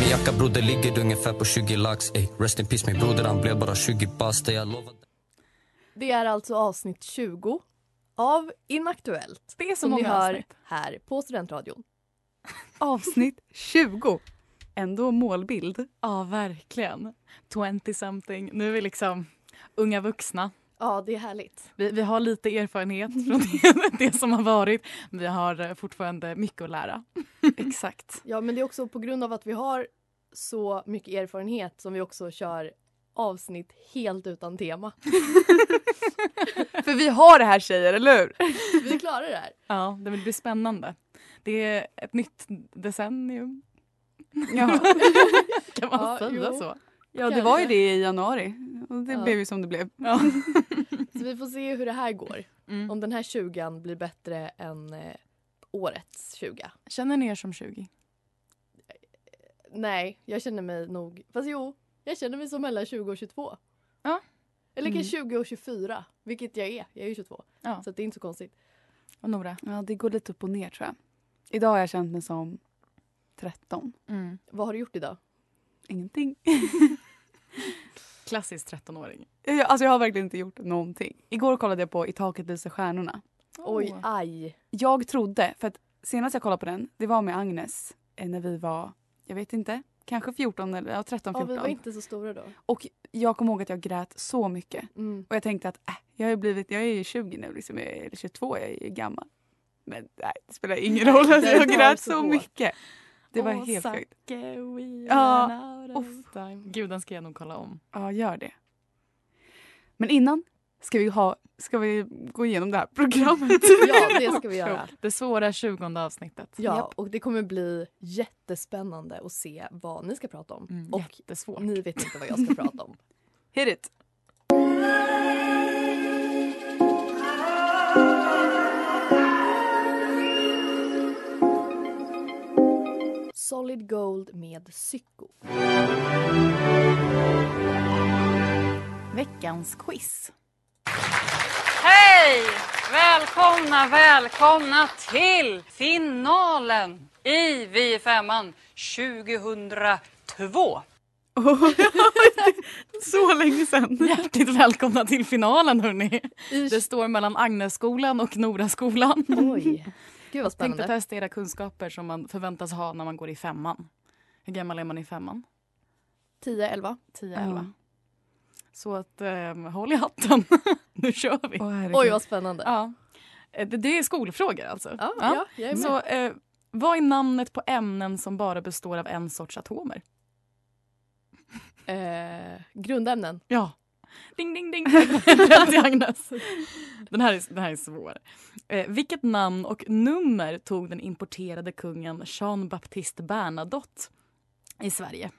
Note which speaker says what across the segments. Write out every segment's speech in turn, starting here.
Speaker 1: Min jacka broder ligger ungefär på 20 lax ey. Rest in peace min broder han blev bara 20 bast ey. jag lovar
Speaker 2: Det är alltså avsnitt 20 av Inaktuellt.
Speaker 3: Det är så
Speaker 2: som ni
Speaker 3: många
Speaker 2: hör
Speaker 3: avsnitt.
Speaker 2: här på Studentradion.
Speaker 3: Avsnitt 20! Ändå målbild.
Speaker 4: Ja, verkligen. 20-something. Nu är vi liksom unga vuxna.
Speaker 2: Ja, det är härligt.
Speaker 4: Vi, vi har lite erfarenhet från det, det som har varit. men Vi har eh, fortfarande mycket att lära.
Speaker 3: Exakt.
Speaker 2: Ja, men det är också på grund av att vi har så mycket erfarenhet som vi också kör avsnitt helt utan tema.
Speaker 3: För vi har det här tjejer, eller hur?
Speaker 2: Vi klarar det här.
Speaker 4: Ja, det blir spännande. Det är ett nytt decennium.
Speaker 3: Ja,
Speaker 4: Kan man
Speaker 2: Ja,
Speaker 4: säga
Speaker 2: jo.
Speaker 4: så?
Speaker 3: ja det var ju det i januari. Och det
Speaker 2: Ja.
Speaker 3: blev ju som det blev.
Speaker 4: Ja.
Speaker 2: Så vi får se hur det här går.
Speaker 4: Mm.
Speaker 2: Om den här 20 blir bättre än eh, årets 20.
Speaker 4: Känner ni er som 20?
Speaker 2: Nej, jag känner mig nog... Fast jo, jag känner mig som mellan 20 och 22.
Speaker 4: Ja.
Speaker 2: Eller kanske
Speaker 4: Mm.
Speaker 2: 20 och 24, vilket jag är. Jag är ju 22,
Speaker 4: Ja.
Speaker 2: så att det är inte så konstigt.
Speaker 4: Och Nora?
Speaker 3: Ja, det går lite upp och ner tror jag. Idag har jag känt mig som 13.
Speaker 2: Vad har du gjort idag?
Speaker 3: Ingenting.
Speaker 4: Klassisk 13-åring.
Speaker 3: Jag- Alltså jag har verkligen inte gjort någonting. Igår kollade jag på I taket lyser stjärnorna.
Speaker 2: Oj, aj.
Speaker 3: Jag trodde, för att senast jag kollade på den, det var med Agnes eh, när vi var, jag vet inte, kanske 14 eller ja, 13,
Speaker 2: Ja,
Speaker 3: 14.
Speaker 2: vi var inte så stora då.
Speaker 3: Och jag kommer ihåg att jag grät så mycket.
Speaker 2: Mm.
Speaker 3: Och jag tänkte att äh, jag, har ju blivit, jag är ju 20 nu, liksom, jag är, eller 22, jag är ju gammal. Men nej, det spelar ingen roll. Alltså,
Speaker 2: Det
Speaker 3: jag
Speaker 2: var
Speaker 3: grät
Speaker 2: så
Speaker 3: så
Speaker 2: hårt.
Speaker 3: mycket. Det var
Speaker 4: Åh,
Speaker 3: helt
Speaker 4: Zac.
Speaker 3: sjukt. Ja,
Speaker 4: Ja. Gud, den ska jag nog kolla om.
Speaker 3: Ja, gör det. Men innan ska vi, ha, ska vi gå igenom det här programmet.
Speaker 2: Ja, det ska vi göra.
Speaker 4: Det svåra 20 avsnittet.
Speaker 2: Ja, och det kommer bli jättespännande att se vad ni ska prata om.
Speaker 4: Mm,
Speaker 2: Och
Speaker 4: jättesvårt.
Speaker 2: ni vet inte vad jag ska prata om.
Speaker 3: Hit it.
Speaker 2: Solid Gold med Psyko.
Speaker 5: Veckans quiz.
Speaker 6: Hej! Välkomna, välkomna till finalen i Vi i femman 2002.
Speaker 3: Så länge sedan.
Speaker 4: Hjärtligt välkomna till finalen hörni.
Speaker 2: I-
Speaker 4: Det står mellan Agnesskolan och Noraskolan.
Speaker 2: Oj. Gud vad
Speaker 4: Tänkte
Speaker 2: spännande.
Speaker 4: testa era kunskaper som man förväntas ha när man går i femman. Hur gammal är man i femman?
Speaker 2: 10, 11.
Speaker 4: 10,
Speaker 3: Ja.
Speaker 4: 11. Så att eh, håll i hatten. nu kör vi.
Speaker 3: Åh, herregud.
Speaker 2: Oj vad spännande.
Speaker 4: Ja. Eh, Det, det är skolfrågor alltså.
Speaker 2: Ja,
Speaker 4: Ja.
Speaker 2: ja, jag är med.
Speaker 4: Så eh, vad är namnet på ämnen som bara består av en sorts atomer?
Speaker 2: Eh, grundämnen.
Speaker 4: Ja. Ding, ding, ding. Rätt i Agnes. Den här är, den här är svår. Eh, vilket namn och nummer tog den importerade kungen Jean Baptiste Bernadotte i Sverige?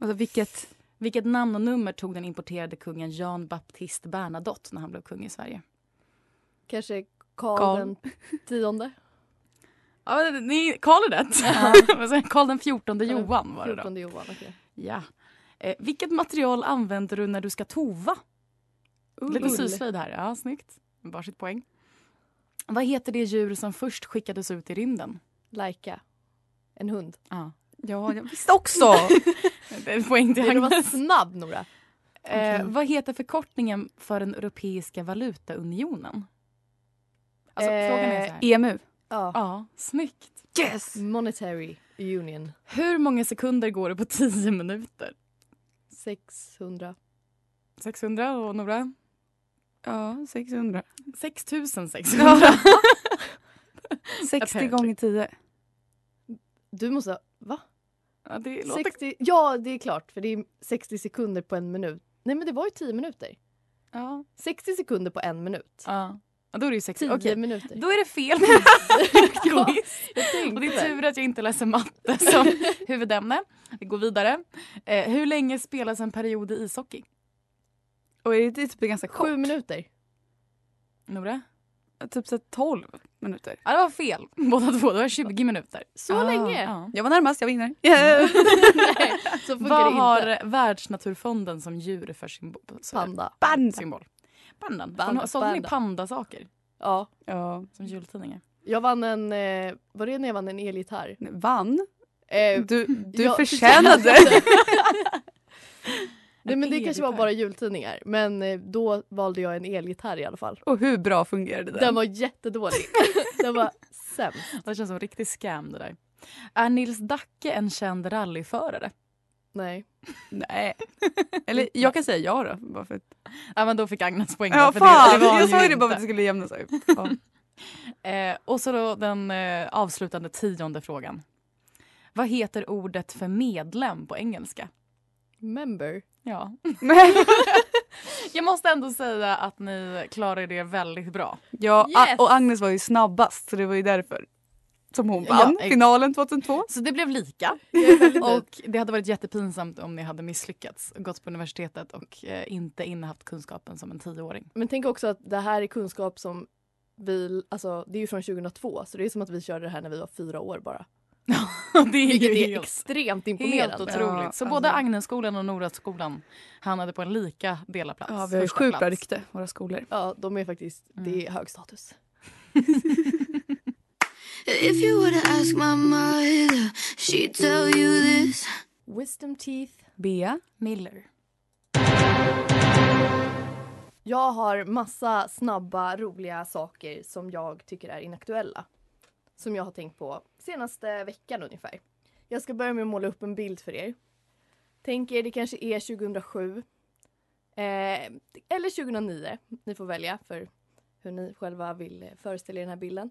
Speaker 3: Alltså, vilket...
Speaker 4: Vilket namn och nummer tog den importerade kungen Jean Baptiste Bernadotte när han blev kung i Sverige?
Speaker 2: Kanske Karl
Speaker 3: Karl.
Speaker 2: den tionde.
Speaker 4: Ja, ni, Karl är rätt. Vad säger jag? Karl den 14 Johan var det då.
Speaker 3: 14 Johan, okej.
Speaker 4: Ja. Eh, vilket material använder du när du ska tova? Lite
Speaker 3: Ull.
Speaker 4: syslöjd här. Ja, snyggt. Varsitt poäng. Vad heter det djur som först skickades ut i rymden?
Speaker 3: Laika. En hund.
Speaker 4: Ja.
Speaker 7: Ja, jag visste också!
Speaker 4: Det är en poäng till
Speaker 3: Du var
Speaker 4: Agnes.
Speaker 3: snabb Nora.
Speaker 4: Eh, vad heter förkortningen för den europeiska valutaunionen? Alltså,
Speaker 3: Eh,
Speaker 4: frågan är så här.
Speaker 7: EMU.
Speaker 3: Ja.
Speaker 4: Ja, snyggt. Yes!
Speaker 3: Monetary Union.
Speaker 4: Hur många sekunder går det på 10 minuter?
Speaker 3: 600.
Speaker 4: 600 och några?
Speaker 7: Ja, 600.
Speaker 4: 6600.
Speaker 7: 60
Speaker 4: Apparently.
Speaker 7: gånger 10.
Speaker 3: Du måste ha... Va?
Speaker 4: Ja, det låter...
Speaker 3: 60... Ja, det är klart. För det är 60 sekunder på en minut. Nej, men det var ju 10 minuter.
Speaker 4: Ja.
Speaker 3: 60 sekunder på en minut.
Speaker 4: ja. Ja, Då är det ju 60.
Speaker 3: 10
Speaker 4: Okej,
Speaker 3: minuter.
Speaker 4: då är det fel. Quiz.
Speaker 3: Jag tänkte.
Speaker 4: och det är tur att jag inte läser matte som huvudämne. Vi går vidare. Eh, hur länge spelas en period i ishockey?
Speaker 7: Och är det typ ganska kort?
Speaker 3: Sju minuter.
Speaker 4: Nora?
Speaker 7: Typ så här 12 minuter.
Speaker 4: Ja, det var fel. Båda två. Det var 20 minuter.
Speaker 3: Så
Speaker 7: Ah.
Speaker 3: länge?
Speaker 4: Ja.
Speaker 7: Jag var närmast, jag vinner.
Speaker 3: Nej, så funkar det
Speaker 4: Vad
Speaker 3: inte.
Speaker 4: har Världsnaturfonden som djur för symbol? Alltså,
Speaker 3: Panda.
Speaker 7: Band!
Speaker 4: symbol. Pandan.
Speaker 3: Panda,
Speaker 4: Panda, Sålde ni
Speaker 3: panda.
Speaker 4: pandasaker
Speaker 3: Ja.
Speaker 7: Ja.
Speaker 4: som jultidningar?
Speaker 3: Jag vann en... Eh, var det när jag vann en elgitarr?
Speaker 7: Vann.
Speaker 3: Eh,
Speaker 7: Du, du
Speaker 3: jag-
Speaker 7: förtjänade.
Speaker 3: Nej,
Speaker 4: En
Speaker 3: men det kanske var
Speaker 4: elgitarr.
Speaker 3: bara jultidningar. Men eh, då valde jag en elgitarr i alla fall.
Speaker 7: Och hur bra fungerade den?
Speaker 3: Den var jättedålig. den var sämst.
Speaker 4: Det känns som en riktig scam det där. Är Nils Dacke en känd rallyförare?
Speaker 3: Nej.
Speaker 7: Nej. Eller jag kan säga ja då. Bara för att...
Speaker 4: Ja, men då fick Agnes poäng.
Speaker 7: Ja,
Speaker 4: för
Speaker 7: fan!
Speaker 4: det var han
Speaker 7: jag sa ju det
Speaker 4: inte.
Speaker 7: bara för att det skulle jämna sig ut. Ja.
Speaker 4: Eh, och så då den eh, avslutande tionde frågan. Vad heter ordet för medlem på engelska?
Speaker 3: Member.
Speaker 4: Ja. jag måste ändå säga att ni klarade er väldigt bra.
Speaker 7: Ja,
Speaker 3: Yes!
Speaker 7: A- och Agnes var ju snabbast så det var ju därför som hon
Speaker 4: Ja,
Speaker 7: vann
Speaker 4: ex-
Speaker 7: finalen 2002.
Speaker 4: Så det blev lika. och det hade varit jättepinsamt om ni hade misslyckats, gått på universitetet och eh, inte innehaft kunskapen som en tioåring.
Speaker 3: Men tänk också att det här är kunskap som vi, alltså det är ju från 2002 så det är som att vi körde det här när vi var fyra år bara.
Speaker 4: det är
Speaker 3: Vilket
Speaker 4: ju
Speaker 3: är
Speaker 4: helt,
Speaker 3: extremt imponerande.
Speaker 4: helt otroligt.
Speaker 7: Ja,
Speaker 4: så
Speaker 7: alltså-
Speaker 4: både Agnesskolan och Noraskolan hamnade på en lika delad plats.
Speaker 7: Ja, vi har ju
Speaker 4: första
Speaker 7: sjukt bra
Speaker 4: plats. Mm.
Speaker 7: rykte, våra skolor.
Speaker 3: Ja, de är faktiskt, det är hög status. Wisdom teeth.
Speaker 7: Bea?
Speaker 4: Miller.
Speaker 3: Jag har massa snabba, roliga saker som jag tycker är inaktuella. Som jag har tänkt på senaste veckan ungefär. Jag ska börja med att måla upp en bild för er. Tänk er, det kanske är 2007. Eh, eller 2009. Ni får välja för hur ni själva vill eh, föreställa er den här bilden.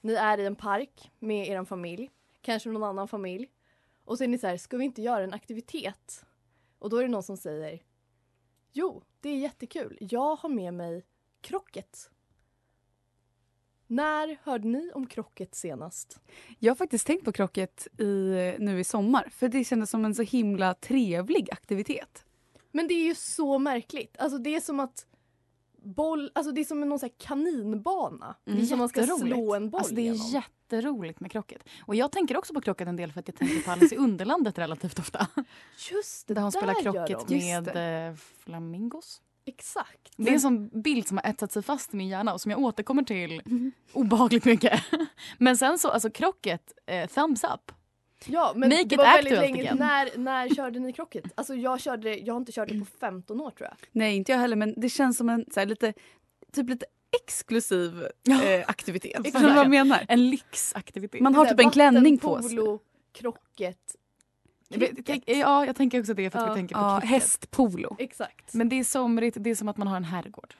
Speaker 3: Ni är i en park med er familj. Kanske någon annan familj. Och så är ni så här, ska vi inte göra en aktivitet? Och då är det någon som säger Jo, det är jättekul. Jag har med mig krocket. När hörde ni om krocket senast?
Speaker 7: Jag har faktiskt tänkt på krocket i, nu i sommar för det kändes som en så himla trevlig aktivitet.
Speaker 3: Men det är ju så märkligt. Alltså det är som att boll, alltså det är som någon så här kaninbana.
Speaker 4: Mm.
Speaker 3: Som man ska
Speaker 4: Jätteroligt.
Speaker 3: slå en boll
Speaker 4: Alltså, det
Speaker 3: genom.
Speaker 4: är jätteroligt med krocket. Och jag tänker också på krocket en del för att jag tänker på Alice i Underlandet relativt ofta.
Speaker 3: Just det,
Speaker 4: Där hon spelar
Speaker 3: där gör
Speaker 4: krocket
Speaker 3: de.
Speaker 7: Just
Speaker 4: med eh, flamingos.
Speaker 3: Exakt.
Speaker 4: Det är en sån bild som har etsat sig fast i min hjärna och som jag återkommer till obehagligt mycket. Men sen så, alltså krocket, eh, thumbs up.
Speaker 3: Ja, men
Speaker 4: Make
Speaker 3: det
Speaker 4: it
Speaker 3: var väldigt
Speaker 4: active
Speaker 3: länge.
Speaker 4: again.
Speaker 3: När, när körde ni krocket? Alltså jag, körde, jag har inte kört det på 15 år tror jag.
Speaker 7: Nej, inte jag heller men det känns som en så här, lite, typ lite exklusiv eh, aktivitet. Förstår du vad jag menar?
Speaker 4: En lyxaktivitet.
Speaker 7: Man har typ en klänning på sig.
Speaker 3: Vattenpolo, krocket.
Speaker 4: Tänk- ja, jag tänker också det för att
Speaker 3: Ja.
Speaker 4: vi tänker på
Speaker 7: Ja,
Speaker 4: krocket.
Speaker 7: hästpolo.
Speaker 3: Exakt.
Speaker 4: Men det är somrigt, det är som att man har en herrgård.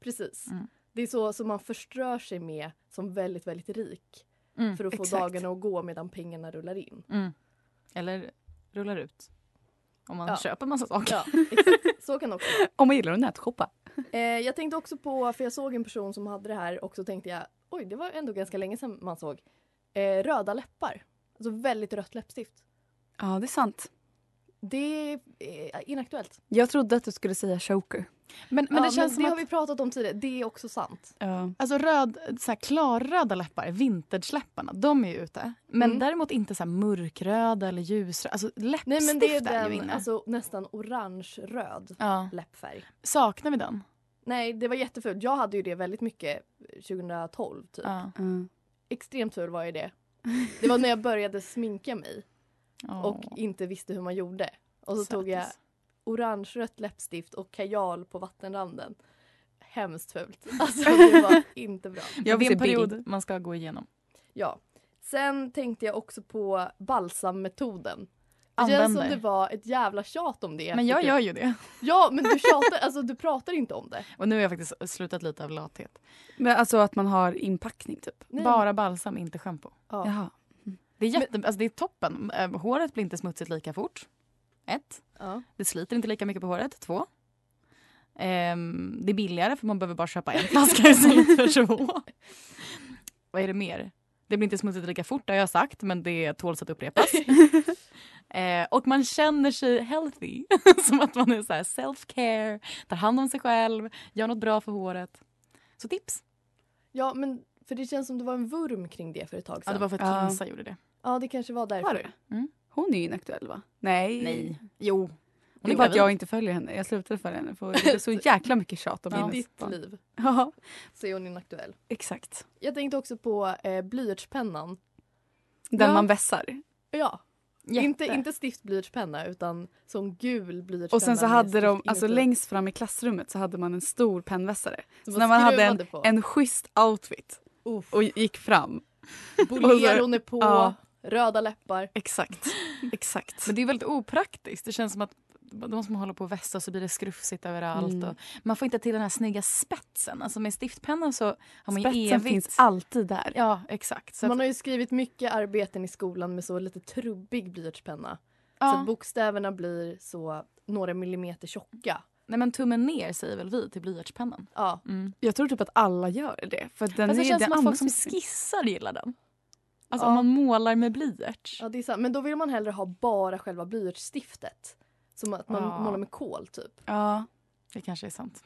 Speaker 3: Precis.
Speaker 4: Mm.
Speaker 3: Det är så som man förströr sig med som väldigt, väldigt rik.
Speaker 4: Mm,
Speaker 3: För att få
Speaker 7: exakt.
Speaker 3: dagarna att gå medan pengarna rullar in.
Speaker 4: Mm. Eller rullar ut. Om man
Speaker 3: Ja.
Speaker 4: köper massa saker.
Speaker 3: Ja, exakt. Så kan det också vara.
Speaker 7: Om man gillar att nätshoppa.
Speaker 3: eh, Jag tänkte också på, för jag såg en person som hade det här och så tänkte jag oj det var ändå ganska länge sedan man såg. Eh, röda läppar. Alltså väldigt rött läppstift.
Speaker 7: Ja, det är sant.
Speaker 3: Det är eh, inaktuellt.
Speaker 7: Jag trodde att du skulle säga choker.
Speaker 5: Men, men
Speaker 8: ja,
Speaker 5: det känns som
Speaker 8: det
Speaker 5: att...
Speaker 8: har vi pratat om tidigare, det är också sant.
Speaker 5: Alltså röd, så här klarröda läppar, vintageläpparna, de är ju ute. Men
Speaker 8: Mm.
Speaker 5: däremot inte så här mörkröda eller ljusröda. Alltså läppstift
Speaker 8: Nej men det är
Speaker 5: ju
Speaker 8: den
Speaker 5: inne.
Speaker 8: alltså, nästan orange-röd
Speaker 5: Ja.
Speaker 8: läppfärg.
Speaker 5: Saknar vi den?
Speaker 8: Nej, det var jättefult. Jag hade ju det väldigt mycket 2012 typ.
Speaker 5: Ja.
Speaker 8: Extremt ful var ju det. Det var när jag började sminka mig och
Speaker 5: Åh.
Speaker 8: inte visste hur man gjorde. Och så tog jag orange-rött läppstift och kajal på vattenranden. Hemskt fult. Alltså det var inte bra.
Speaker 3: Jag det är en period man ska gå igenom.
Speaker 8: Ja. Sen tänkte jag också på balsammetoden. Det känns
Speaker 3: Använder.
Speaker 8: som det var ett jävla tjat om det.
Speaker 3: Men jag
Speaker 8: tycker
Speaker 3: gör ju det.
Speaker 8: Ja, men du tjatar, alltså du pratar inte om det.
Speaker 3: Och nu har jag faktiskt slutat lite av lathet.
Speaker 5: Men alltså att man har inpackning typ?
Speaker 8: Nej.
Speaker 3: Bara balsam, inte schampo.
Speaker 8: Ja.
Speaker 5: Jaha. Mm.
Speaker 3: Det är, jätte, alltså det är toppen. Eh, Håret blir inte smutsigt lika fort. Ett.
Speaker 8: Ja.
Speaker 3: Det sliter inte lika mycket på håret. Två. Ehm, det är billigare för man behöver bara köpa en flaska istället för två. Vad är det mer? Det blir inte smutsigt lika fort, det har jag sagt, men det tåls att upprepas. eh, och man känner sig healthy. Som att man är så här self-care, tar hand om sig själv, gör något bra för håret. Så tips!
Speaker 8: Ja, men för det känns som det var en vurm kring det för ett tag
Speaker 3: Ja,
Speaker 8: sedan.
Speaker 3: det var för att Kinsa gjorde det.
Speaker 8: Ja, det kanske var därför.
Speaker 5: Hon är ju inaktuell va? Nej.
Speaker 3: Nej. Jo.
Speaker 5: Det är bara att jag inte följer henne. Jag slutade följa henne för det är så jäkla mycket tjat om
Speaker 8: I
Speaker 5: hennes
Speaker 8: ditt
Speaker 5: barn.
Speaker 8: liv
Speaker 5: Ja,
Speaker 8: så är hon inaktuell.
Speaker 5: exakt.
Speaker 8: Jag tänkte också på eh, blyertspennan.
Speaker 5: Den
Speaker 8: Ja.
Speaker 5: man vässar.
Speaker 8: Ja.
Speaker 5: Jätte.
Speaker 8: Inte, inte stift blyertspenna utan som gul blyertspenna.
Speaker 5: Och sen så
Speaker 8: med
Speaker 5: hade
Speaker 8: stift
Speaker 5: de, alltså
Speaker 8: inuti.
Speaker 5: längst fram i klassrummet så hade man en stor pennvässare.
Speaker 8: Som
Speaker 5: Så när man
Speaker 8: man
Speaker 5: hade
Speaker 8: skruvade
Speaker 5: en,
Speaker 8: på.
Speaker 5: en schysst outfit och gick fram.
Speaker 8: Boleron är på,
Speaker 5: Ja.
Speaker 8: röda läppar.
Speaker 5: Exakt. Exakt.
Speaker 3: Men det är väldigt opraktiskt. Det känns som att de som håller på och vässa så blir det skrufsigt överallt.
Speaker 5: Mm.
Speaker 3: Och man får inte till den här snygga spetsen. Alltså med stiftpennan så har man ju
Speaker 5: Spetsen
Speaker 3: evigt...
Speaker 5: finns alltid där.
Speaker 3: Ja, exakt. Så
Speaker 8: Man
Speaker 3: att,
Speaker 8: har ju skrivit mycket arbeten i skolan med så lite trubbig blyertspenna.
Speaker 3: Ja.
Speaker 8: Så bokstäverna blir så några millimeter tjocka.
Speaker 3: nej men tummen ner säger väl vi till blyertspennan.
Speaker 8: Ja.
Speaker 3: Mm.
Speaker 5: Jag tror typ att alla gör det. För att den
Speaker 3: Fast det
Speaker 5: är,
Speaker 3: känns
Speaker 5: den
Speaker 3: som att folk som
Speaker 5: används ju.
Speaker 3: skissar gillar den. Alltså
Speaker 8: Ja.
Speaker 3: om man målar med blyerts.
Speaker 8: ja, det är sant. Men då vill man hellre ha bara själva blyertsstiftet. Som att man
Speaker 3: Ja.
Speaker 8: målar med kol typ.
Speaker 5: Ja.
Speaker 3: Det kanske är sant.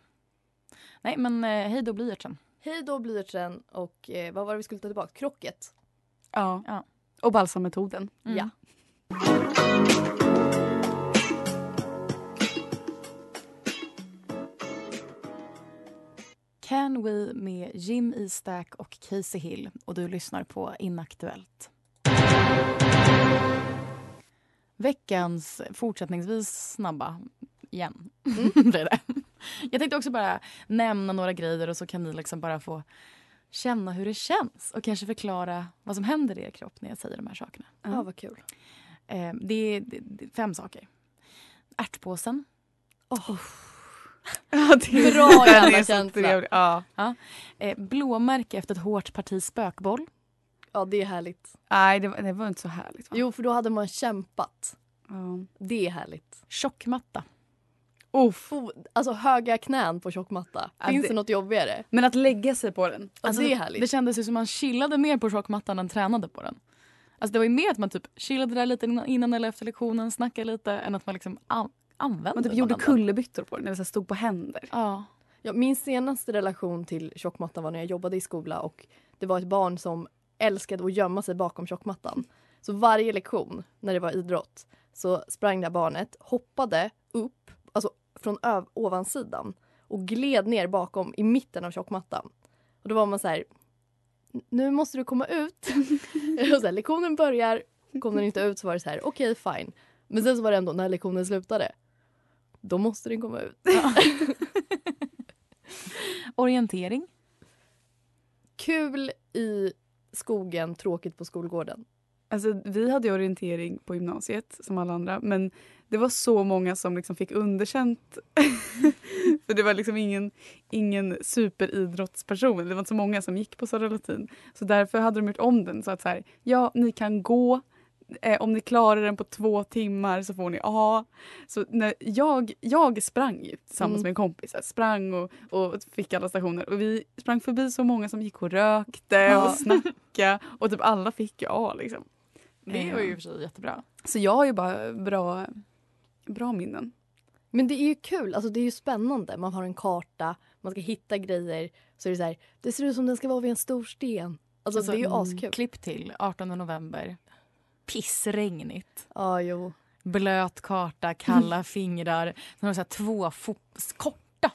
Speaker 3: Nej men eh, hej då blyertsen.
Speaker 8: Hej då blyertsen och eh, vad var det vi skulle ta tillbaka? Krocket.
Speaker 5: ja.
Speaker 3: Ja.
Speaker 5: Och balsammetoden.
Speaker 3: Mm.
Speaker 8: Ja.
Speaker 3: Can We med Jim Eastack och Casey Hill och du lyssnar på Inaktuellt. Veckans fortsättningsvis snabba igen. blir det. Jag tänkte också bara nämna några grejer och så kan ni liksom bara få känna hur det känns och kanske förklara vad som händer i er kropp när jag säger de här sakerna. Mm.
Speaker 8: Ja, vad kul.
Speaker 3: Eh, det, är, det, det är fem saker. Ärtpåsen.
Speaker 8: Bra
Speaker 5: Den
Speaker 8: jävla
Speaker 5: är så
Speaker 8: känsla.
Speaker 5: trevlig. Ja.
Speaker 3: Eh, blåmärke efter ett hårt parti spökboll.
Speaker 8: Ja, det är härligt.
Speaker 5: Nej, det var, det var inte så härligt. Va?
Speaker 8: Jo, för då hade man kämpat.
Speaker 5: Ja.
Speaker 8: Det är härligt.
Speaker 3: Tjockmatta.
Speaker 5: Uff.
Speaker 8: Oh, alltså höga knän på tjockmatta.
Speaker 5: Ja,
Speaker 8: Finns
Speaker 5: det-
Speaker 8: det något jobbigare?
Speaker 5: Men att lägga sig på den.
Speaker 8: Ja,
Speaker 3: Alltså,
Speaker 8: det är härligt.
Speaker 3: Det kändes ju som man chillade mer på tjockmattan än tränade på den. Alltså det var ju mer att man typ chillade där lite innan- innan eller efter lektionen, snackade lite än att man liksom an- använde
Speaker 5: Man typ gjorde
Speaker 3: varandra.
Speaker 5: kullerbyttor på den, eller så här stod på händer.
Speaker 3: Ja.
Speaker 8: Ja, min senaste relation till tjockmattan var när jag jobbade i skola och det var ett barn som älskade att gömma sig bakom tjockmattan. Så varje lektion när det var idrott så sprang det här barnet, hoppade upp, alltså från öv- ovansidan och gled ner bakom i mitten av tjockmattan. Och då var man så här, nu måste du komma ut. och så här, lektionen börjar, kom den inte ut så var det så här, okej fine. Men sen så var det ändå när lektionen slutade, då måste den komma ut.
Speaker 3: Orientering.
Speaker 8: Kul i skogen, tråkigt på skolgården.
Speaker 5: Alltså, vi hade ju orientering på gymnasiet som alla andra men det var så många som liksom fick underkänt. För det var liksom ingen, ingen superidrottsperson. Det var inte så många som gick på Södra Latin. Så därför hade de gjort om den så att så här, ja ni kan gå Eh, om ni klarar den på två timmar så får ni A. Så när jag, jag sprang ju tillsammans
Speaker 8: Mm.
Speaker 5: med en kompis. Jag sprang och, och fick alla stationer. Och vi sprang förbi så många som gick och rökte och snackade. Och typ alla fick ju A liksom.
Speaker 3: Det
Speaker 5: Eh,
Speaker 3: var ju i och för sig jättebra.
Speaker 5: Så jag har ju bara bra, bra minnen.
Speaker 8: Men det är ju kul, alltså det är ju spännande. Man har en karta, man ska hitta grejer. Så är det så här, det ser ut som den ska vara vid en stor sten. Alltså, det är ju
Speaker 3: mm,
Speaker 8: askul.
Speaker 3: Klipp till 18 november. Pissregnigt.
Speaker 8: Ja, jo.
Speaker 3: Blöt karta, kalla fingrar. Sen har du så här två fo- korta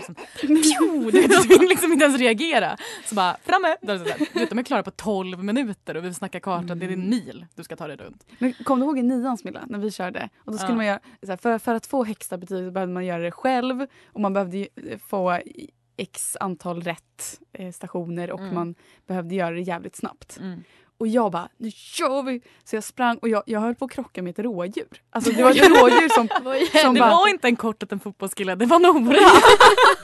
Speaker 3: som pju, du vet, du vill liksom inte ens reagera. Så bara framme. Då är det så här, du vet, De är klara på 12 minuter och vi snackar karta. Det är
Speaker 8: Mm.
Speaker 3: en mil du ska ta dig runt.
Speaker 4: Men kom du ihåg i nian Smilla, när vi körde? Och då skulle
Speaker 3: Ja.
Speaker 4: man göra, så här, för, för att få högsta betyg så behövde man göra det själv och man behövde ju eh, få i- x antal rätt eh, stationer och
Speaker 5: Mm.
Speaker 4: man behövde göra det jävligt snabbt.
Speaker 5: Mm.
Speaker 4: Och jag bara, nu kör vi! Så jag sprang och jag, jag höll på att krocka med ett rådjur. Alltså det var ett rådjur som, som
Speaker 3: det
Speaker 4: bara...
Speaker 3: var inte en kort och en fotbollskille, det var Nora.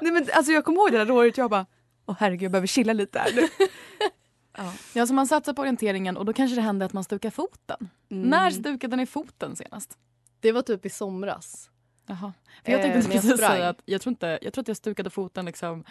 Speaker 4: Nej, men, alltså, jag kommer ihåg det där rådjuret jag bara, åh herregud jag behöver chilla lite här nu.
Speaker 3: Ja. så man satsar på orienteringen och då kanske det händer att man stukar foten.
Speaker 8: Mm.
Speaker 3: När stukade ni foten senast?
Speaker 8: Det var typ i somras.
Speaker 3: Jaha. För jag
Speaker 8: Eh,
Speaker 3: tänkte
Speaker 8: när jag
Speaker 3: precis
Speaker 8: sprang.
Speaker 3: säga att jag tror, inte, jag tror att jag stukade foten liksom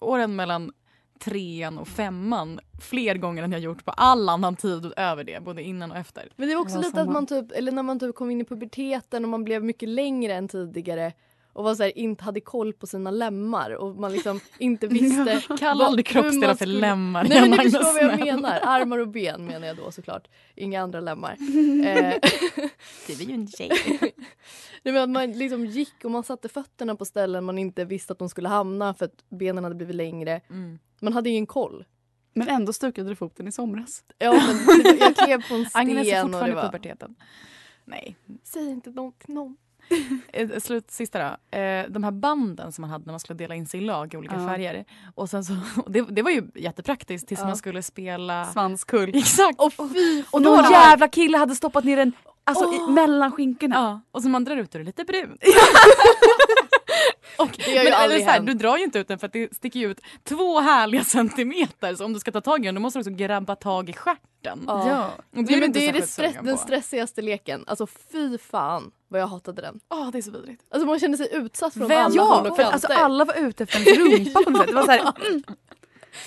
Speaker 3: åren mellan trean och femman fler gånger än jag gjort på all annan tid över det, både innan och efter.
Speaker 8: Men det var också lite att man typ, eller när man typ kom in i puberteten och man blev mycket längre än tidigare och var så här, inte hade koll på sina lemmar och man liksom inte visste.
Speaker 3: Kalla
Speaker 8: vad-
Speaker 3: aldrig
Speaker 8: hur man
Speaker 3: kroppsdelar för
Speaker 8: skulle-
Speaker 3: lemmar,
Speaker 8: Nej men ni
Speaker 3: Magnus,
Speaker 8: förstår vad jag
Speaker 3: snälla.
Speaker 8: menar. Armar och ben menar jag då såklart. Inga andra lemmar.
Speaker 3: Du är ju en tjej.
Speaker 8: Nej, men att man liksom gick och man satte fötterna på ställen man inte visste att de skulle hamna för att benen hade blivit längre.
Speaker 3: Mm.
Speaker 8: Man hade ingen koll.
Speaker 4: Men ändå stukade du foten i somras.
Speaker 8: Ja, men det- jag klev på en sten
Speaker 3: Agnes är
Speaker 8: och det
Speaker 3: fortfarande i
Speaker 8: var...
Speaker 3: puberteten. Nej.
Speaker 8: Säg inte någon någon.
Speaker 3: Eh, Slut, sista då. Eh, De här banden som man hade när man skulle dela in sig i lag i olika
Speaker 4: Ja.
Speaker 3: färger. Och sen så, det, det var ju jättepraktiskt tills
Speaker 4: Ja.
Speaker 3: man skulle spela...
Speaker 4: Svanskull.
Speaker 3: Exakt!
Speaker 8: Och,
Speaker 4: och någon
Speaker 3: fan.
Speaker 4: jävla kille hade stoppat ner den alltså, i, mellan skinkorna.
Speaker 3: Ja, och som man drar ut är det lite brunt. och,
Speaker 8: ju
Speaker 3: men, eller
Speaker 8: aldrig
Speaker 3: så här,
Speaker 8: hänt.
Speaker 3: du drar ju inte ut den för att det sticker ju ut två härliga centimeter. Så om du ska ta tag i den då måste du också grabba tag i stjärten.
Speaker 8: Ja.
Speaker 3: Och
Speaker 8: Nej,
Speaker 3: du
Speaker 8: men
Speaker 3: inte
Speaker 8: det är det
Speaker 3: särskilt
Speaker 8: stress,
Speaker 3: sugen
Speaker 8: den
Speaker 3: på.
Speaker 8: stressigaste leken. Alltså fy fan vad jag hatade den.
Speaker 3: Ja, det är så vidrigt.
Speaker 8: Alltså man kände sig utsatt från
Speaker 4: Vem?
Speaker 8: alla håll
Speaker 4: Ja,
Speaker 8: och
Speaker 4: för
Speaker 8: kanter.
Speaker 4: alltså, alla var ute efter en rumpa på något sätt. Det var så här, mm,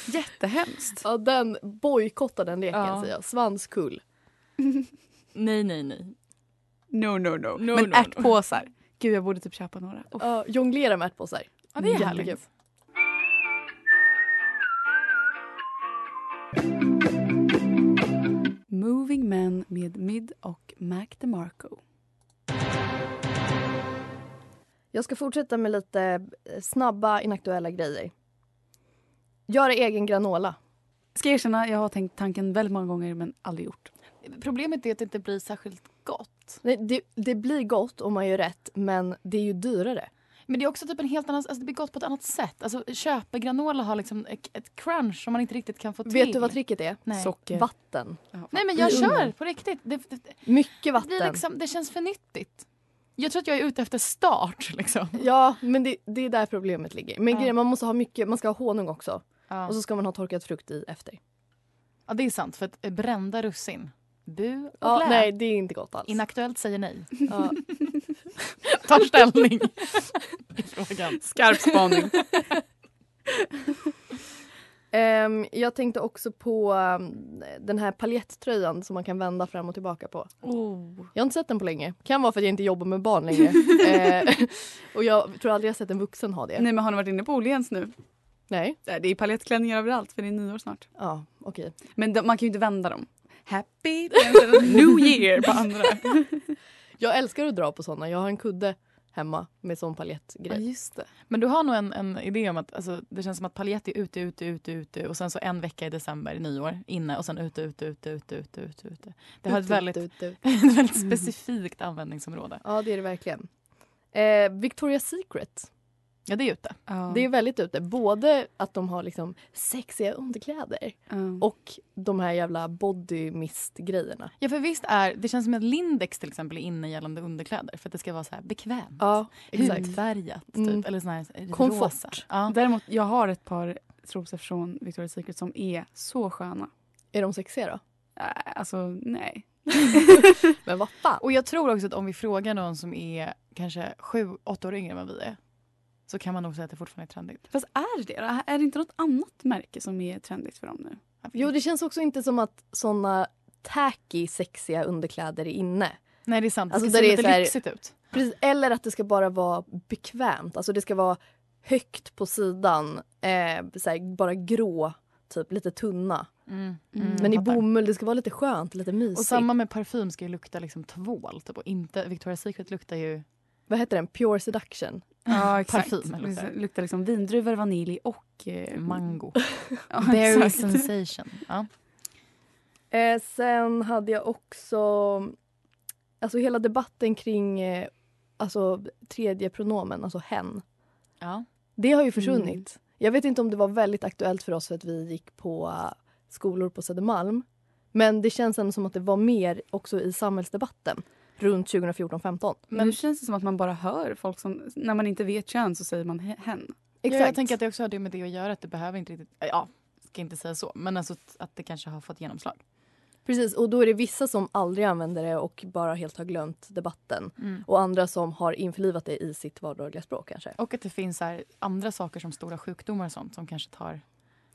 Speaker 4: jättehemskt.
Speaker 8: Ja, den bojkottade den leken säger jag. Svanskull.
Speaker 3: Nej, nej, nej.
Speaker 4: No, no, no.
Speaker 3: No,
Speaker 4: Men
Speaker 3: no, no.
Speaker 4: ärtpåsar. Gud, jag borde typ köpa några. Uff.
Speaker 8: Ja, jonglera med ärtpåsar.
Speaker 3: Ja, det är
Speaker 8: Jättekul.
Speaker 3: härligt.
Speaker 4: Moving Men med Mid och Mac DeMarco.
Speaker 8: Jag ska fortsätta med lite eh, snabba inaktuella grejer. Göra egen granola.
Speaker 4: Ska erkänna, jag har tänkt tanken väldigt många gånger men aldrig gjort.
Speaker 3: Problemet är att det inte blir särskilt gott.
Speaker 8: Nej, det, det blir gott om man gör rätt men det är ju dyrare.
Speaker 3: Men det är också typ en helt annan, alltså det blir gott på ett annat sätt. Alltså köpegranola har liksom ett, ett crunch som man inte riktigt kan få till.
Speaker 8: Vet du vad tricket är?
Speaker 3: Nej.
Speaker 4: Socker. Mm.
Speaker 8: Vatten.
Speaker 3: Nej men jag
Speaker 8: I
Speaker 3: kör
Speaker 8: ugnen.
Speaker 3: på riktigt. Det, det, det,
Speaker 8: Mycket
Speaker 3: det,
Speaker 8: vatten.
Speaker 3: blir liksom, det känns för nyttigt. Jag tror att jag är ute efter start liksom.
Speaker 8: Ja, men det, det är där problemet ligger. Men
Speaker 3: Ja.
Speaker 8: grejen, man måste ha mycket, man ska ha honung också.
Speaker 3: Ja.
Speaker 8: Och så ska man ha torkad frukt i efter.
Speaker 3: Ja, det är sant. För att eh, brända russin. Bu och
Speaker 8: Ja,
Speaker 3: lä.
Speaker 8: nej, det är inte gott alls.
Speaker 3: Inaktuellt säger nej.
Speaker 8: Ja.
Speaker 3: Tar ställning i frågan.
Speaker 4: Skarp spaning.
Speaker 8: Ehm, jag tänkte också på ehm, den här paljettröjan som man kan vända fram och tillbaka på.
Speaker 3: Oh.
Speaker 8: Jag har inte sett den på länge. Kan vara för att jag inte jobbar med barn längre. Ehm, och jag tror aldrig jag sett en vuxen ha det.
Speaker 4: Eh, Nej men har ni varit inne på Åhléns nu?
Speaker 8: Nej.
Speaker 4: Nej, Det är palettklänningar överallt för det är nyår snart.
Speaker 8: Ja, okej.
Speaker 4: Men de, man kan ju inte vända dem. Happy new year på andra.
Speaker 8: Jag älskar att dra på såna. Jag har en kudde hemma med sån
Speaker 3: Ja,
Speaker 8: paljettgrej.
Speaker 3: just det. Men du har nog en, en idé om att alltså, det känns som att paljett är ute, ute, ute, ute och sen så en vecka i december, nyår, inne och sen ute, ute, ute, ute, ute, ute. ute. Det har ett
Speaker 8: Ut, ut,
Speaker 3: väldigt,
Speaker 8: ut, ut.
Speaker 3: ett väldigt
Speaker 8: Mm.
Speaker 3: specifikt användningsområde.
Speaker 8: typ, Ja, det är det verkligen. Eh, Victoria's Secret.
Speaker 3: Ja, det är ute.
Speaker 8: Det är väldigt ute. Både att de har liksom sexiga underkläder och de här jävla body mist-grejerna.
Speaker 3: Ja, för visst är, det känns som att Lindex till exempel är inne gällande underkläder för att det ska vara så här bekvämt.
Speaker 8: Ja, exakt.
Speaker 3: Hudfärgat, typ.
Speaker 8: Mm.
Speaker 3: Eller sån här lite
Speaker 8: Komfort.
Speaker 3: rosa. Ja.
Speaker 4: Däremot, jag har ett par trosor från Victoria's Secret som är så sköna.
Speaker 8: Är de sexiga då?
Speaker 4: Äh, Alltså nej.
Speaker 8: Men vad fan?
Speaker 3: Och jag tror också att om vi frågar någon som är kanske sju, åtta år yngre än vad vi är så kan man nog säga att det fortfarande är trendigt.
Speaker 4: Fast är det det? Är det inte något annat märke som är trendigt för dem nu?
Speaker 8: Jo, det känns också inte som att såna tacky sexiga underkläder är inne.
Speaker 3: Nej, det är sant. Det
Speaker 8: Alltså,
Speaker 3: ska
Speaker 8: där det är
Speaker 3: se lite
Speaker 8: så här-
Speaker 3: lyxigt ut.
Speaker 8: Precis, eller att det ska bara vara bekvämt. Alltså det ska vara högt på sidan, eh, så här, bara grå, typ lite tunna.
Speaker 3: Mm.
Speaker 8: Men i
Speaker 3: fattar.
Speaker 8: bomull, det ska vara lite skönt, lite mysigt.
Speaker 3: Och samma med parfym ska ju lukta liksom tvål. Typ, och inte, Victoria's Secret luktar ju...
Speaker 8: Vad heter den? Pure Seduction?
Speaker 4: Ja, exakt.
Speaker 3: Parfym luktar.
Speaker 4: Det luktar liksom vindruvor, vanilj och... Eh,
Speaker 3: Mango.
Speaker 4: ja,
Speaker 3: Berry
Speaker 4: exakt.
Speaker 3: sensation. Ja.
Speaker 8: Eh, sen hade jag också alltså hela debatten kring eh, alltså, tredje pronomen, alltså hen.
Speaker 3: Ja.
Speaker 8: Det har ju försvunnit. Jag vet inte om det var väldigt aktuellt för oss för att vi gick på eh, skolor på Södermalm. Men det känns ändå som att det var mer också i samhällsdebatten runt 2014-15.
Speaker 4: Men nu känns det som att man bara hör folk som... När man inte vet kön så säger man he- hen.
Speaker 3: Ja,
Speaker 8: Exakt.
Speaker 3: jag tänker att det också har det med det att göra. Att det behöver inte riktigt... Ja, ska inte säga så. Men alltså att- att det kanske har fått genomslag.
Speaker 8: Precis, och då är det vissa som aldrig använder det och bara helt har glömt debatten.
Speaker 3: Mm.
Speaker 8: Och andra som har införlivat det i sitt vardagliga språk kanske.
Speaker 3: Och att det finns så här, andra saker som stora sjukdomar och sånt som kanske tar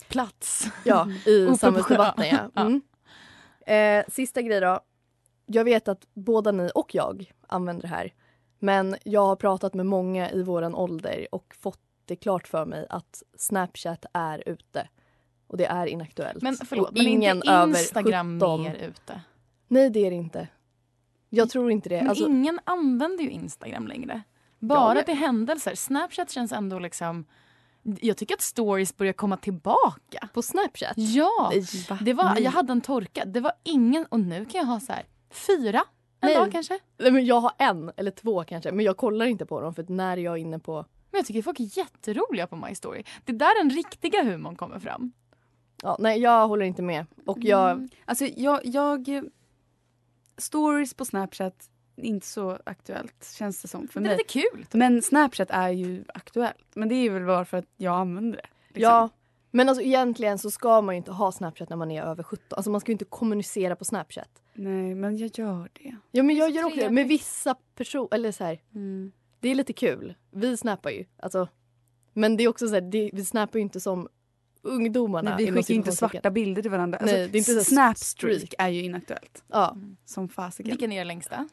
Speaker 3: plats.
Speaker 8: Ja, i
Speaker 3: Oproportionerligt.
Speaker 8: samhällsdebatten. Ja.
Speaker 3: Ja.
Speaker 8: Mm. Eh, sista grej då. Jag vet att båda ni och jag använder det här. Men jag har pratat med många i våran ålder och fått det klart för mig att Snapchat är ute. Och det är inaktuellt.
Speaker 3: Men förlåt,
Speaker 8: och
Speaker 3: men är inte
Speaker 8: över
Speaker 3: Instagram
Speaker 8: 17
Speaker 3: mer ute?
Speaker 8: Nej, det är det inte. Jag tror inte det.
Speaker 3: Men
Speaker 8: Alltså,
Speaker 3: ingen använder ju Instagram längre. Bara
Speaker 8: men-
Speaker 3: till händelser. Snapchat känns ändå liksom... Jag tycker att stories börjar komma tillbaka.
Speaker 8: på Snapchat?
Speaker 3: Ja!
Speaker 8: Nej.
Speaker 3: Det var, jag hade en torka. Det var ingen... Och nu kan jag ha så här fyra en
Speaker 8: Nej.
Speaker 3: dag kanske.
Speaker 8: Nej, men jag har en eller två kanske, men jag kollar inte på dem för att när jag är inne på...
Speaker 3: Men jag tycker folk är jätteroliga på My Story. Det är där den riktiga humorn kommer fram.
Speaker 8: Ja, nej, jag håller inte med. Och jag...
Speaker 4: Alltså jag, jag... Stories på Snapchat, inte så aktuellt känns det som för
Speaker 3: Det är
Speaker 4: mig.
Speaker 3: lite kul.
Speaker 4: Men Snapchat är ju aktuellt. Men det är väl bara för att jag använder det. liksom.
Speaker 8: Ja, men alltså egentligen så ska man ju inte ha Snapchat när man är över 17. Alltså man ska ju inte kommunicera på Snapchat.
Speaker 4: Nej, men jag gör det.
Speaker 8: Ja, men jag gör också det med vissa personer. Eller så här, det är lite kul. Vi snappar ju. Alltså, men det är också så här, det, vi snappar ju inte som ungdomarna.
Speaker 4: Nej, vi
Speaker 8: inom
Speaker 4: skickar ju inte
Speaker 8: situationstecken.
Speaker 4: svarta bilder till varandra. Alltså,
Speaker 8: Nej, det är inte så här
Speaker 4: Snapstreak är ju inaktuellt.
Speaker 8: Ja.
Speaker 4: Som fasiken.
Speaker 3: Vilken är er längsta?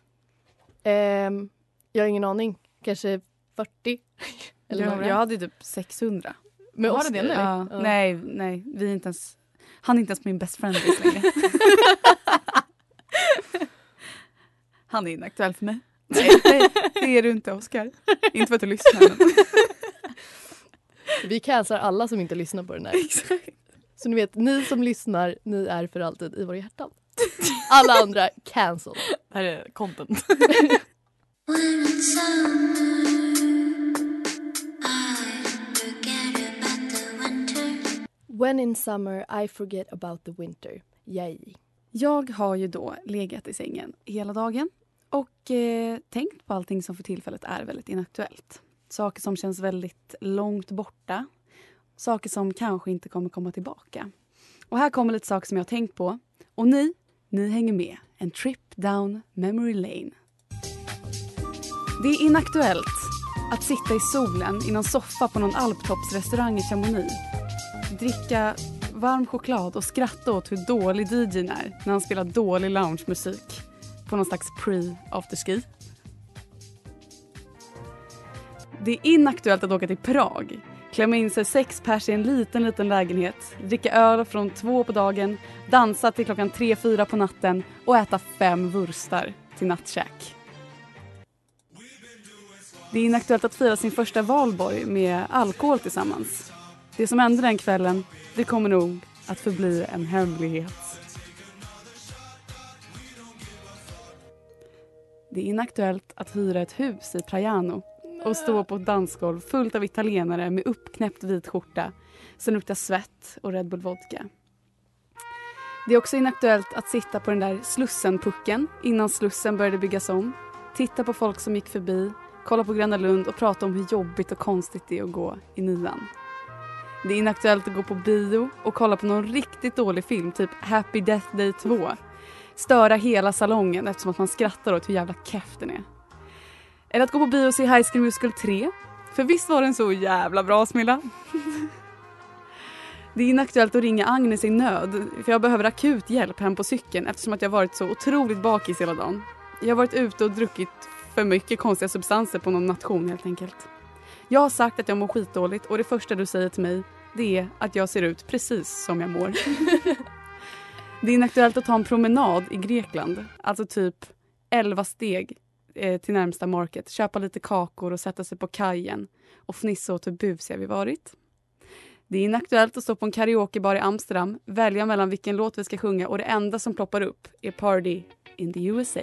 Speaker 8: Ehm, jag har ingen aning. Kanske 40? eller
Speaker 4: Jag,
Speaker 8: några.
Speaker 4: jag hade ju typ 600.
Speaker 8: Med
Speaker 3: Var det
Speaker 8: Oscar.
Speaker 3: det nu?
Speaker 4: Ja.
Speaker 8: Ja.
Speaker 4: Nej, nej. Vi är inte ens, han är inte ens min best friend längre. han är inaktuell för mig. Nej, nej, det är du inte, Oscar. Inte för att du lyssnar. Men.
Speaker 8: Vi cancelar alla som inte lyssnar på den här. Så ni vet, ni som lyssnar, ni är för alltid i våra hjärtan. Alla andra, cancel.
Speaker 3: Det här är content.
Speaker 8: When in summer I forget about the winter. Yay.
Speaker 4: Jag har ju då legat i sängen hela dagen och eh, tänkt på allting som för tillfället är väldigt inaktuellt. Saker som känns väldigt långt borta. Saker som kanske inte kommer komma tillbaka. Och här kommer lite saker som jag har tänkt på. Och ni, ni hänger med. En trip down memory lane. Det är inaktuellt att sitta i solen i någon soffa på någon alptoppsrestaurang i Chamonix. Dricka varm choklad och skratta åt hur dålig DJn är när han spelar dålig loungemusik på någon slags pre-afterski. Det är inaktuellt att åka till Prag, klämma in sig sex pers i en liten, liten lägenhet, dricka öl från två på dagen, dansa till klockan tre, fyra på natten och äta fem wurstar till nattkäk. Det är inaktuellt att fira sin första valborg med alkohol tillsammans. Det som hände den kvällen, det kommer nog att förbli en hemlighet. Det är inaktuellt att hyra ett hus i Trajano och stå på ett dansgolv fullt av italienare med uppknäppt vit skjorta som luktar svett och Red Bull vodka. Det är också inaktuellt att sitta på den där Slussenpucken innan Slussen började byggas om, titta på folk som gick förbi, kolla på Gröna Lund och prata om hur jobbigt och konstigt det är att gå i nian. Det är inaktuellt att gå på bio och kolla på någon riktigt dålig film, typ Happy Death Day 2. Störa hela salongen eftersom att man skrattar åt hur jävla keff den är. Eller att gå på bio och se High School Musical 3. För visst var den så jävla bra, Smilla? Det är inaktuellt att ringa Agnes i nöd för jag behöver akut hjälp hem på cykeln eftersom att jag varit så otroligt bakis hela dagen. Jag har varit ute och druckit för mycket konstiga substanser på någon nation helt enkelt. Jag har sagt att jag mår skitdåligt och det första du säger till mig det är att jag ser ut precis som jag mår. det är inaktuellt att ta en promenad i Grekland, alltså typ 11 steg eh, till närmsta market, köpa lite kakor och sätta sig på kajen och fnissa åt hur busiga vi varit. Det är inaktuellt att stå på en karaokebar i Amsterdam, välja mellan vilken låt vi ska sjunga och det enda som ploppar upp är Party in the USA.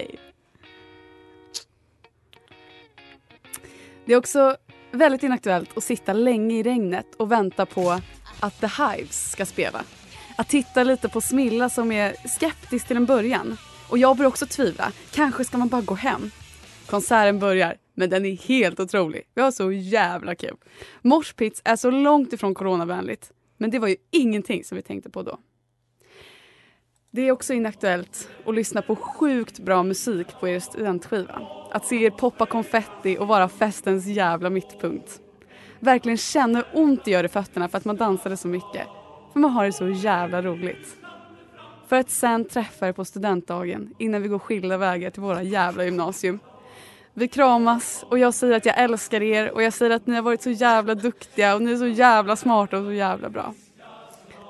Speaker 4: Det är också väldigt inaktuellt att sitta länge i regnet och vänta på att The Hives ska spela. Att titta lite på Smilla som är skeptisk till en början. Och jag börjar också tvivla. Kanske ska man bara gå hem. Konserten börjar, men den är helt otrolig. Vi har så jävla kul. Moshpits är så långt ifrån coronavänligt. Men det var ju ingenting som vi tänkte på då. Det är också inaktuellt att lyssna på sjukt bra musik på er studentskiva. Att se er poppa konfetti och vara festens jävla mittpunkt. Verkligen känna hur ont det gör i fötterna för att man dansade så mycket. För man har det så jävla roligt. För att sen träffa er på studentdagen innan vi går skilda vägar till våra jävla gymnasium. Vi kramas och jag säger att jag älskar er och jag säger att ni har varit så jävla duktiga och ni är så jävla smarta och så jävla bra.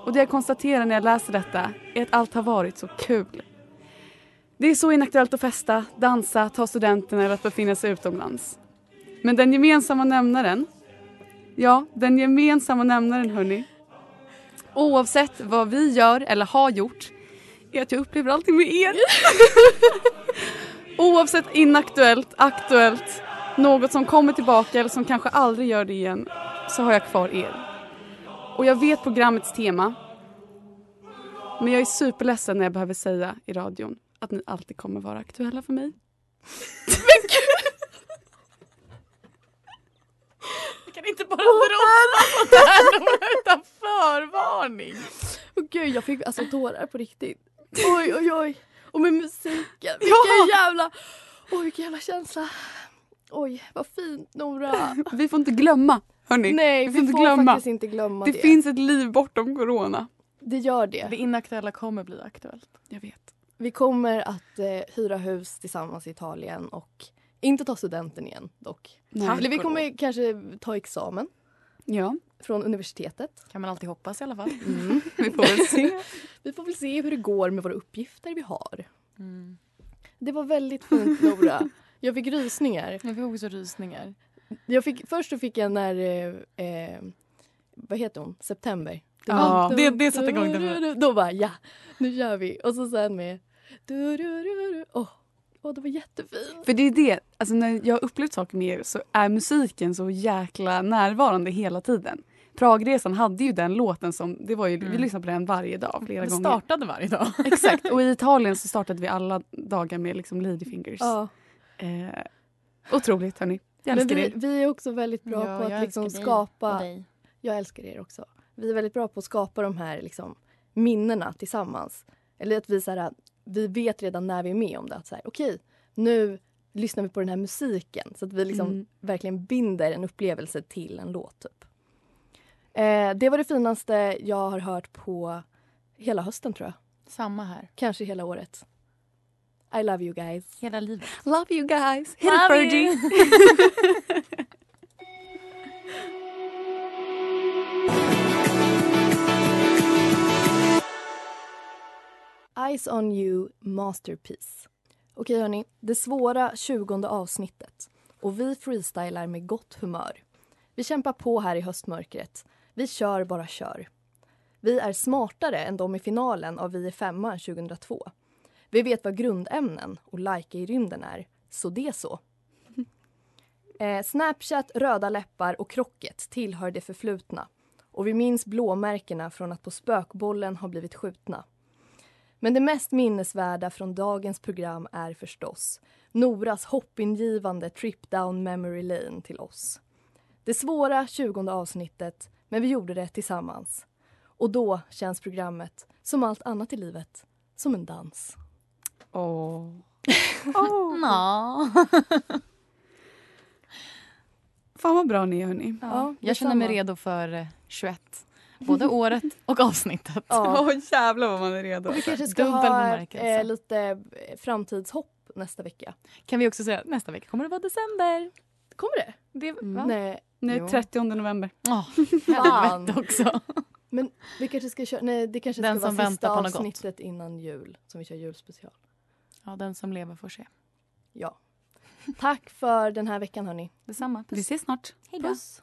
Speaker 4: Och det jag konstaterar när jag läser detta är att allt har varit så kul. Det är så inaktuellt att festa, dansa, ta studenten eller att befinna sig utomlands. Men den gemensamma nämnaren, ja, den gemensamma nämnaren hörni, oavsett vad vi gör eller har gjort, är att jag upplever allting med er. oavsett inaktuellt, aktuellt, något som kommer tillbaka eller som kanske aldrig gör det igen, så har jag kvar er. Och jag vet programmets tema. Men jag är superledsen när jag behöver säga i radion att ni alltid kommer vara aktuella för mig.
Speaker 3: Jag kan inte bara droppa sånt här Nora, utan förvarning.
Speaker 8: Åh gud, jag fick alltså tårar på riktigt. Oj, oj, oj. Och med musiken.
Speaker 4: Ja.
Speaker 8: Vilken jävla... Oj, vilken jävla känsla. Oj, vad fint Nora.
Speaker 4: Vi får inte glömma, hörni.
Speaker 8: Nej,
Speaker 4: vi
Speaker 8: vi
Speaker 4: får inte
Speaker 8: får
Speaker 4: glömma.
Speaker 8: faktiskt inte glömma
Speaker 4: det
Speaker 8: det.
Speaker 4: finns ett liv bortom corona.
Speaker 8: Det gör det.
Speaker 3: Det inaktuella kommer bli aktuellt.
Speaker 4: Jag vet.
Speaker 8: Vi kommer att eh, hyra hus tillsammans i Italien och inte ta studenten igen dock.
Speaker 4: Nej.
Speaker 8: Eller vi kommer kanske ta examen
Speaker 4: Ja,
Speaker 8: från universitetet.
Speaker 3: Kan man alltid hoppas i alla fall.
Speaker 4: vi får väl se.
Speaker 8: Vi får väl se hur det går med våra uppgifter vi har.
Speaker 3: Mm.
Speaker 8: Det var väldigt fint Nora. Jag fick rysningar.
Speaker 3: Jag fick också rysningar.
Speaker 8: Jag fick, först så fick jag när, eh, eh, vad heter hon, September.
Speaker 3: Ja,
Speaker 8: var-
Speaker 3: det- det satte igång det var-
Speaker 8: Då bara ja, nu gör vi. Och så sen med, du, du, du, du. Åh, åh, det var jättefint.
Speaker 4: För det är det, alltså när jag har upplevt saker med er så är musiken så jäkla närvarande hela tiden. Pragresan hade ju den låten som, det var ju, vi lyssnade på den varje dag flera
Speaker 3: Det
Speaker 4: gånger.
Speaker 3: startade varje dag.
Speaker 4: Exakt, och i Italien så startade vi alla dagar med liksom Ladyfingers.
Speaker 8: Ja.
Speaker 4: Eh, otroligt hörni. Jag
Speaker 8: Men
Speaker 4: älskar
Speaker 8: vi,
Speaker 4: er.
Speaker 8: vi är också väldigt bra
Speaker 3: Ja,
Speaker 8: på
Speaker 3: jag
Speaker 8: att liksom
Speaker 3: älskar dig
Speaker 8: skapa...
Speaker 3: och dig.
Speaker 8: Jag älskar er också. Vi är väldigt bra på att skapa de här liksom, minnena tillsammans. Eller att vi, så här, vi vet redan när vi är med om det. Att så här, okej, nu lyssnar vi på den här musiken. Så att vi liksom
Speaker 4: Mm.
Speaker 8: verkligen binder en upplevelse till en låt. Typ. Eh, det var det finaste jag har hört på hela hösten, tror jag.
Speaker 3: Samma här.
Speaker 8: Kanske hela året. I love you guys.
Speaker 3: Hela livet.
Speaker 4: Love you guys. Hit
Speaker 3: Love
Speaker 4: it,
Speaker 3: you.
Speaker 4: Fergie.
Speaker 8: Eyes on you, masterpiece. Okej, hörni. Det svåra 20 avsnittet. Och vi freestylar med gott humör. Vi kämpar på här i höstmörkret. Vi kör, bara kör. Vi är smartare än de i finalen av Vi är femman 2002. Vi vet vad grundämnen och like i rymden är, så det så. Eh, Snapchat, röda läppar och krocket tillhör det förflutna och vi minns blåmärkena från att på spökbollen har blivit skjutna. Men det mest minnesvärda från dagens program är förstås Noras hoppingivande trip down memory lane till oss. Det svåra 20 avsnittet, men vi gjorde det tillsammans. Och då känns programmet, som allt annat i livet, som en dans.
Speaker 4: Åh.
Speaker 3: Nå.
Speaker 4: Fan vad bra ni är hörni.
Speaker 3: Ja, jag känner mig redo för eh, 21. Både året och avsnittet.
Speaker 8: Ja.
Speaker 4: Åh jävlar vad man är redo.
Speaker 8: Vi kanske ska
Speaker 3: Dubbel
Speaker 8: ha
Speaker 3: bemärkelse.
Speaker 8: eh, lite eh, framtidshopp upp nästa vecka.
Speaker 3: Kan vi också säga att nästa vecka kommer det vara december.
Speaker 8: Kommer det?
Speaker 3: det
Speaker 8: va? Nej.
Speaker 4: Nej,
Speaker 8: Jo.
Speaker 4: 30 november.
Speaker 3: Oh,
Speaker 8: Fan.
Speaker 3: också.
Speaker 8: Men vi kanske ska köra, nej det kanske
Speaker 3: Den
Speaker 8: ska
Speaker 3: som
Speaker 8: vara sista
Speaker 3: väntar på något gott.
Speaker 8: avsnittet innan jul som vi kör julspecial.
Speaker 3: Ja, den som lever får se.
Speaker 8: Ja. Tack för den här veckan hörni.
Speaker 3: Detsamma.
Speaker 4: Vi ses snart.
Speaker 3: Hej då.
Speaker 8: Puss.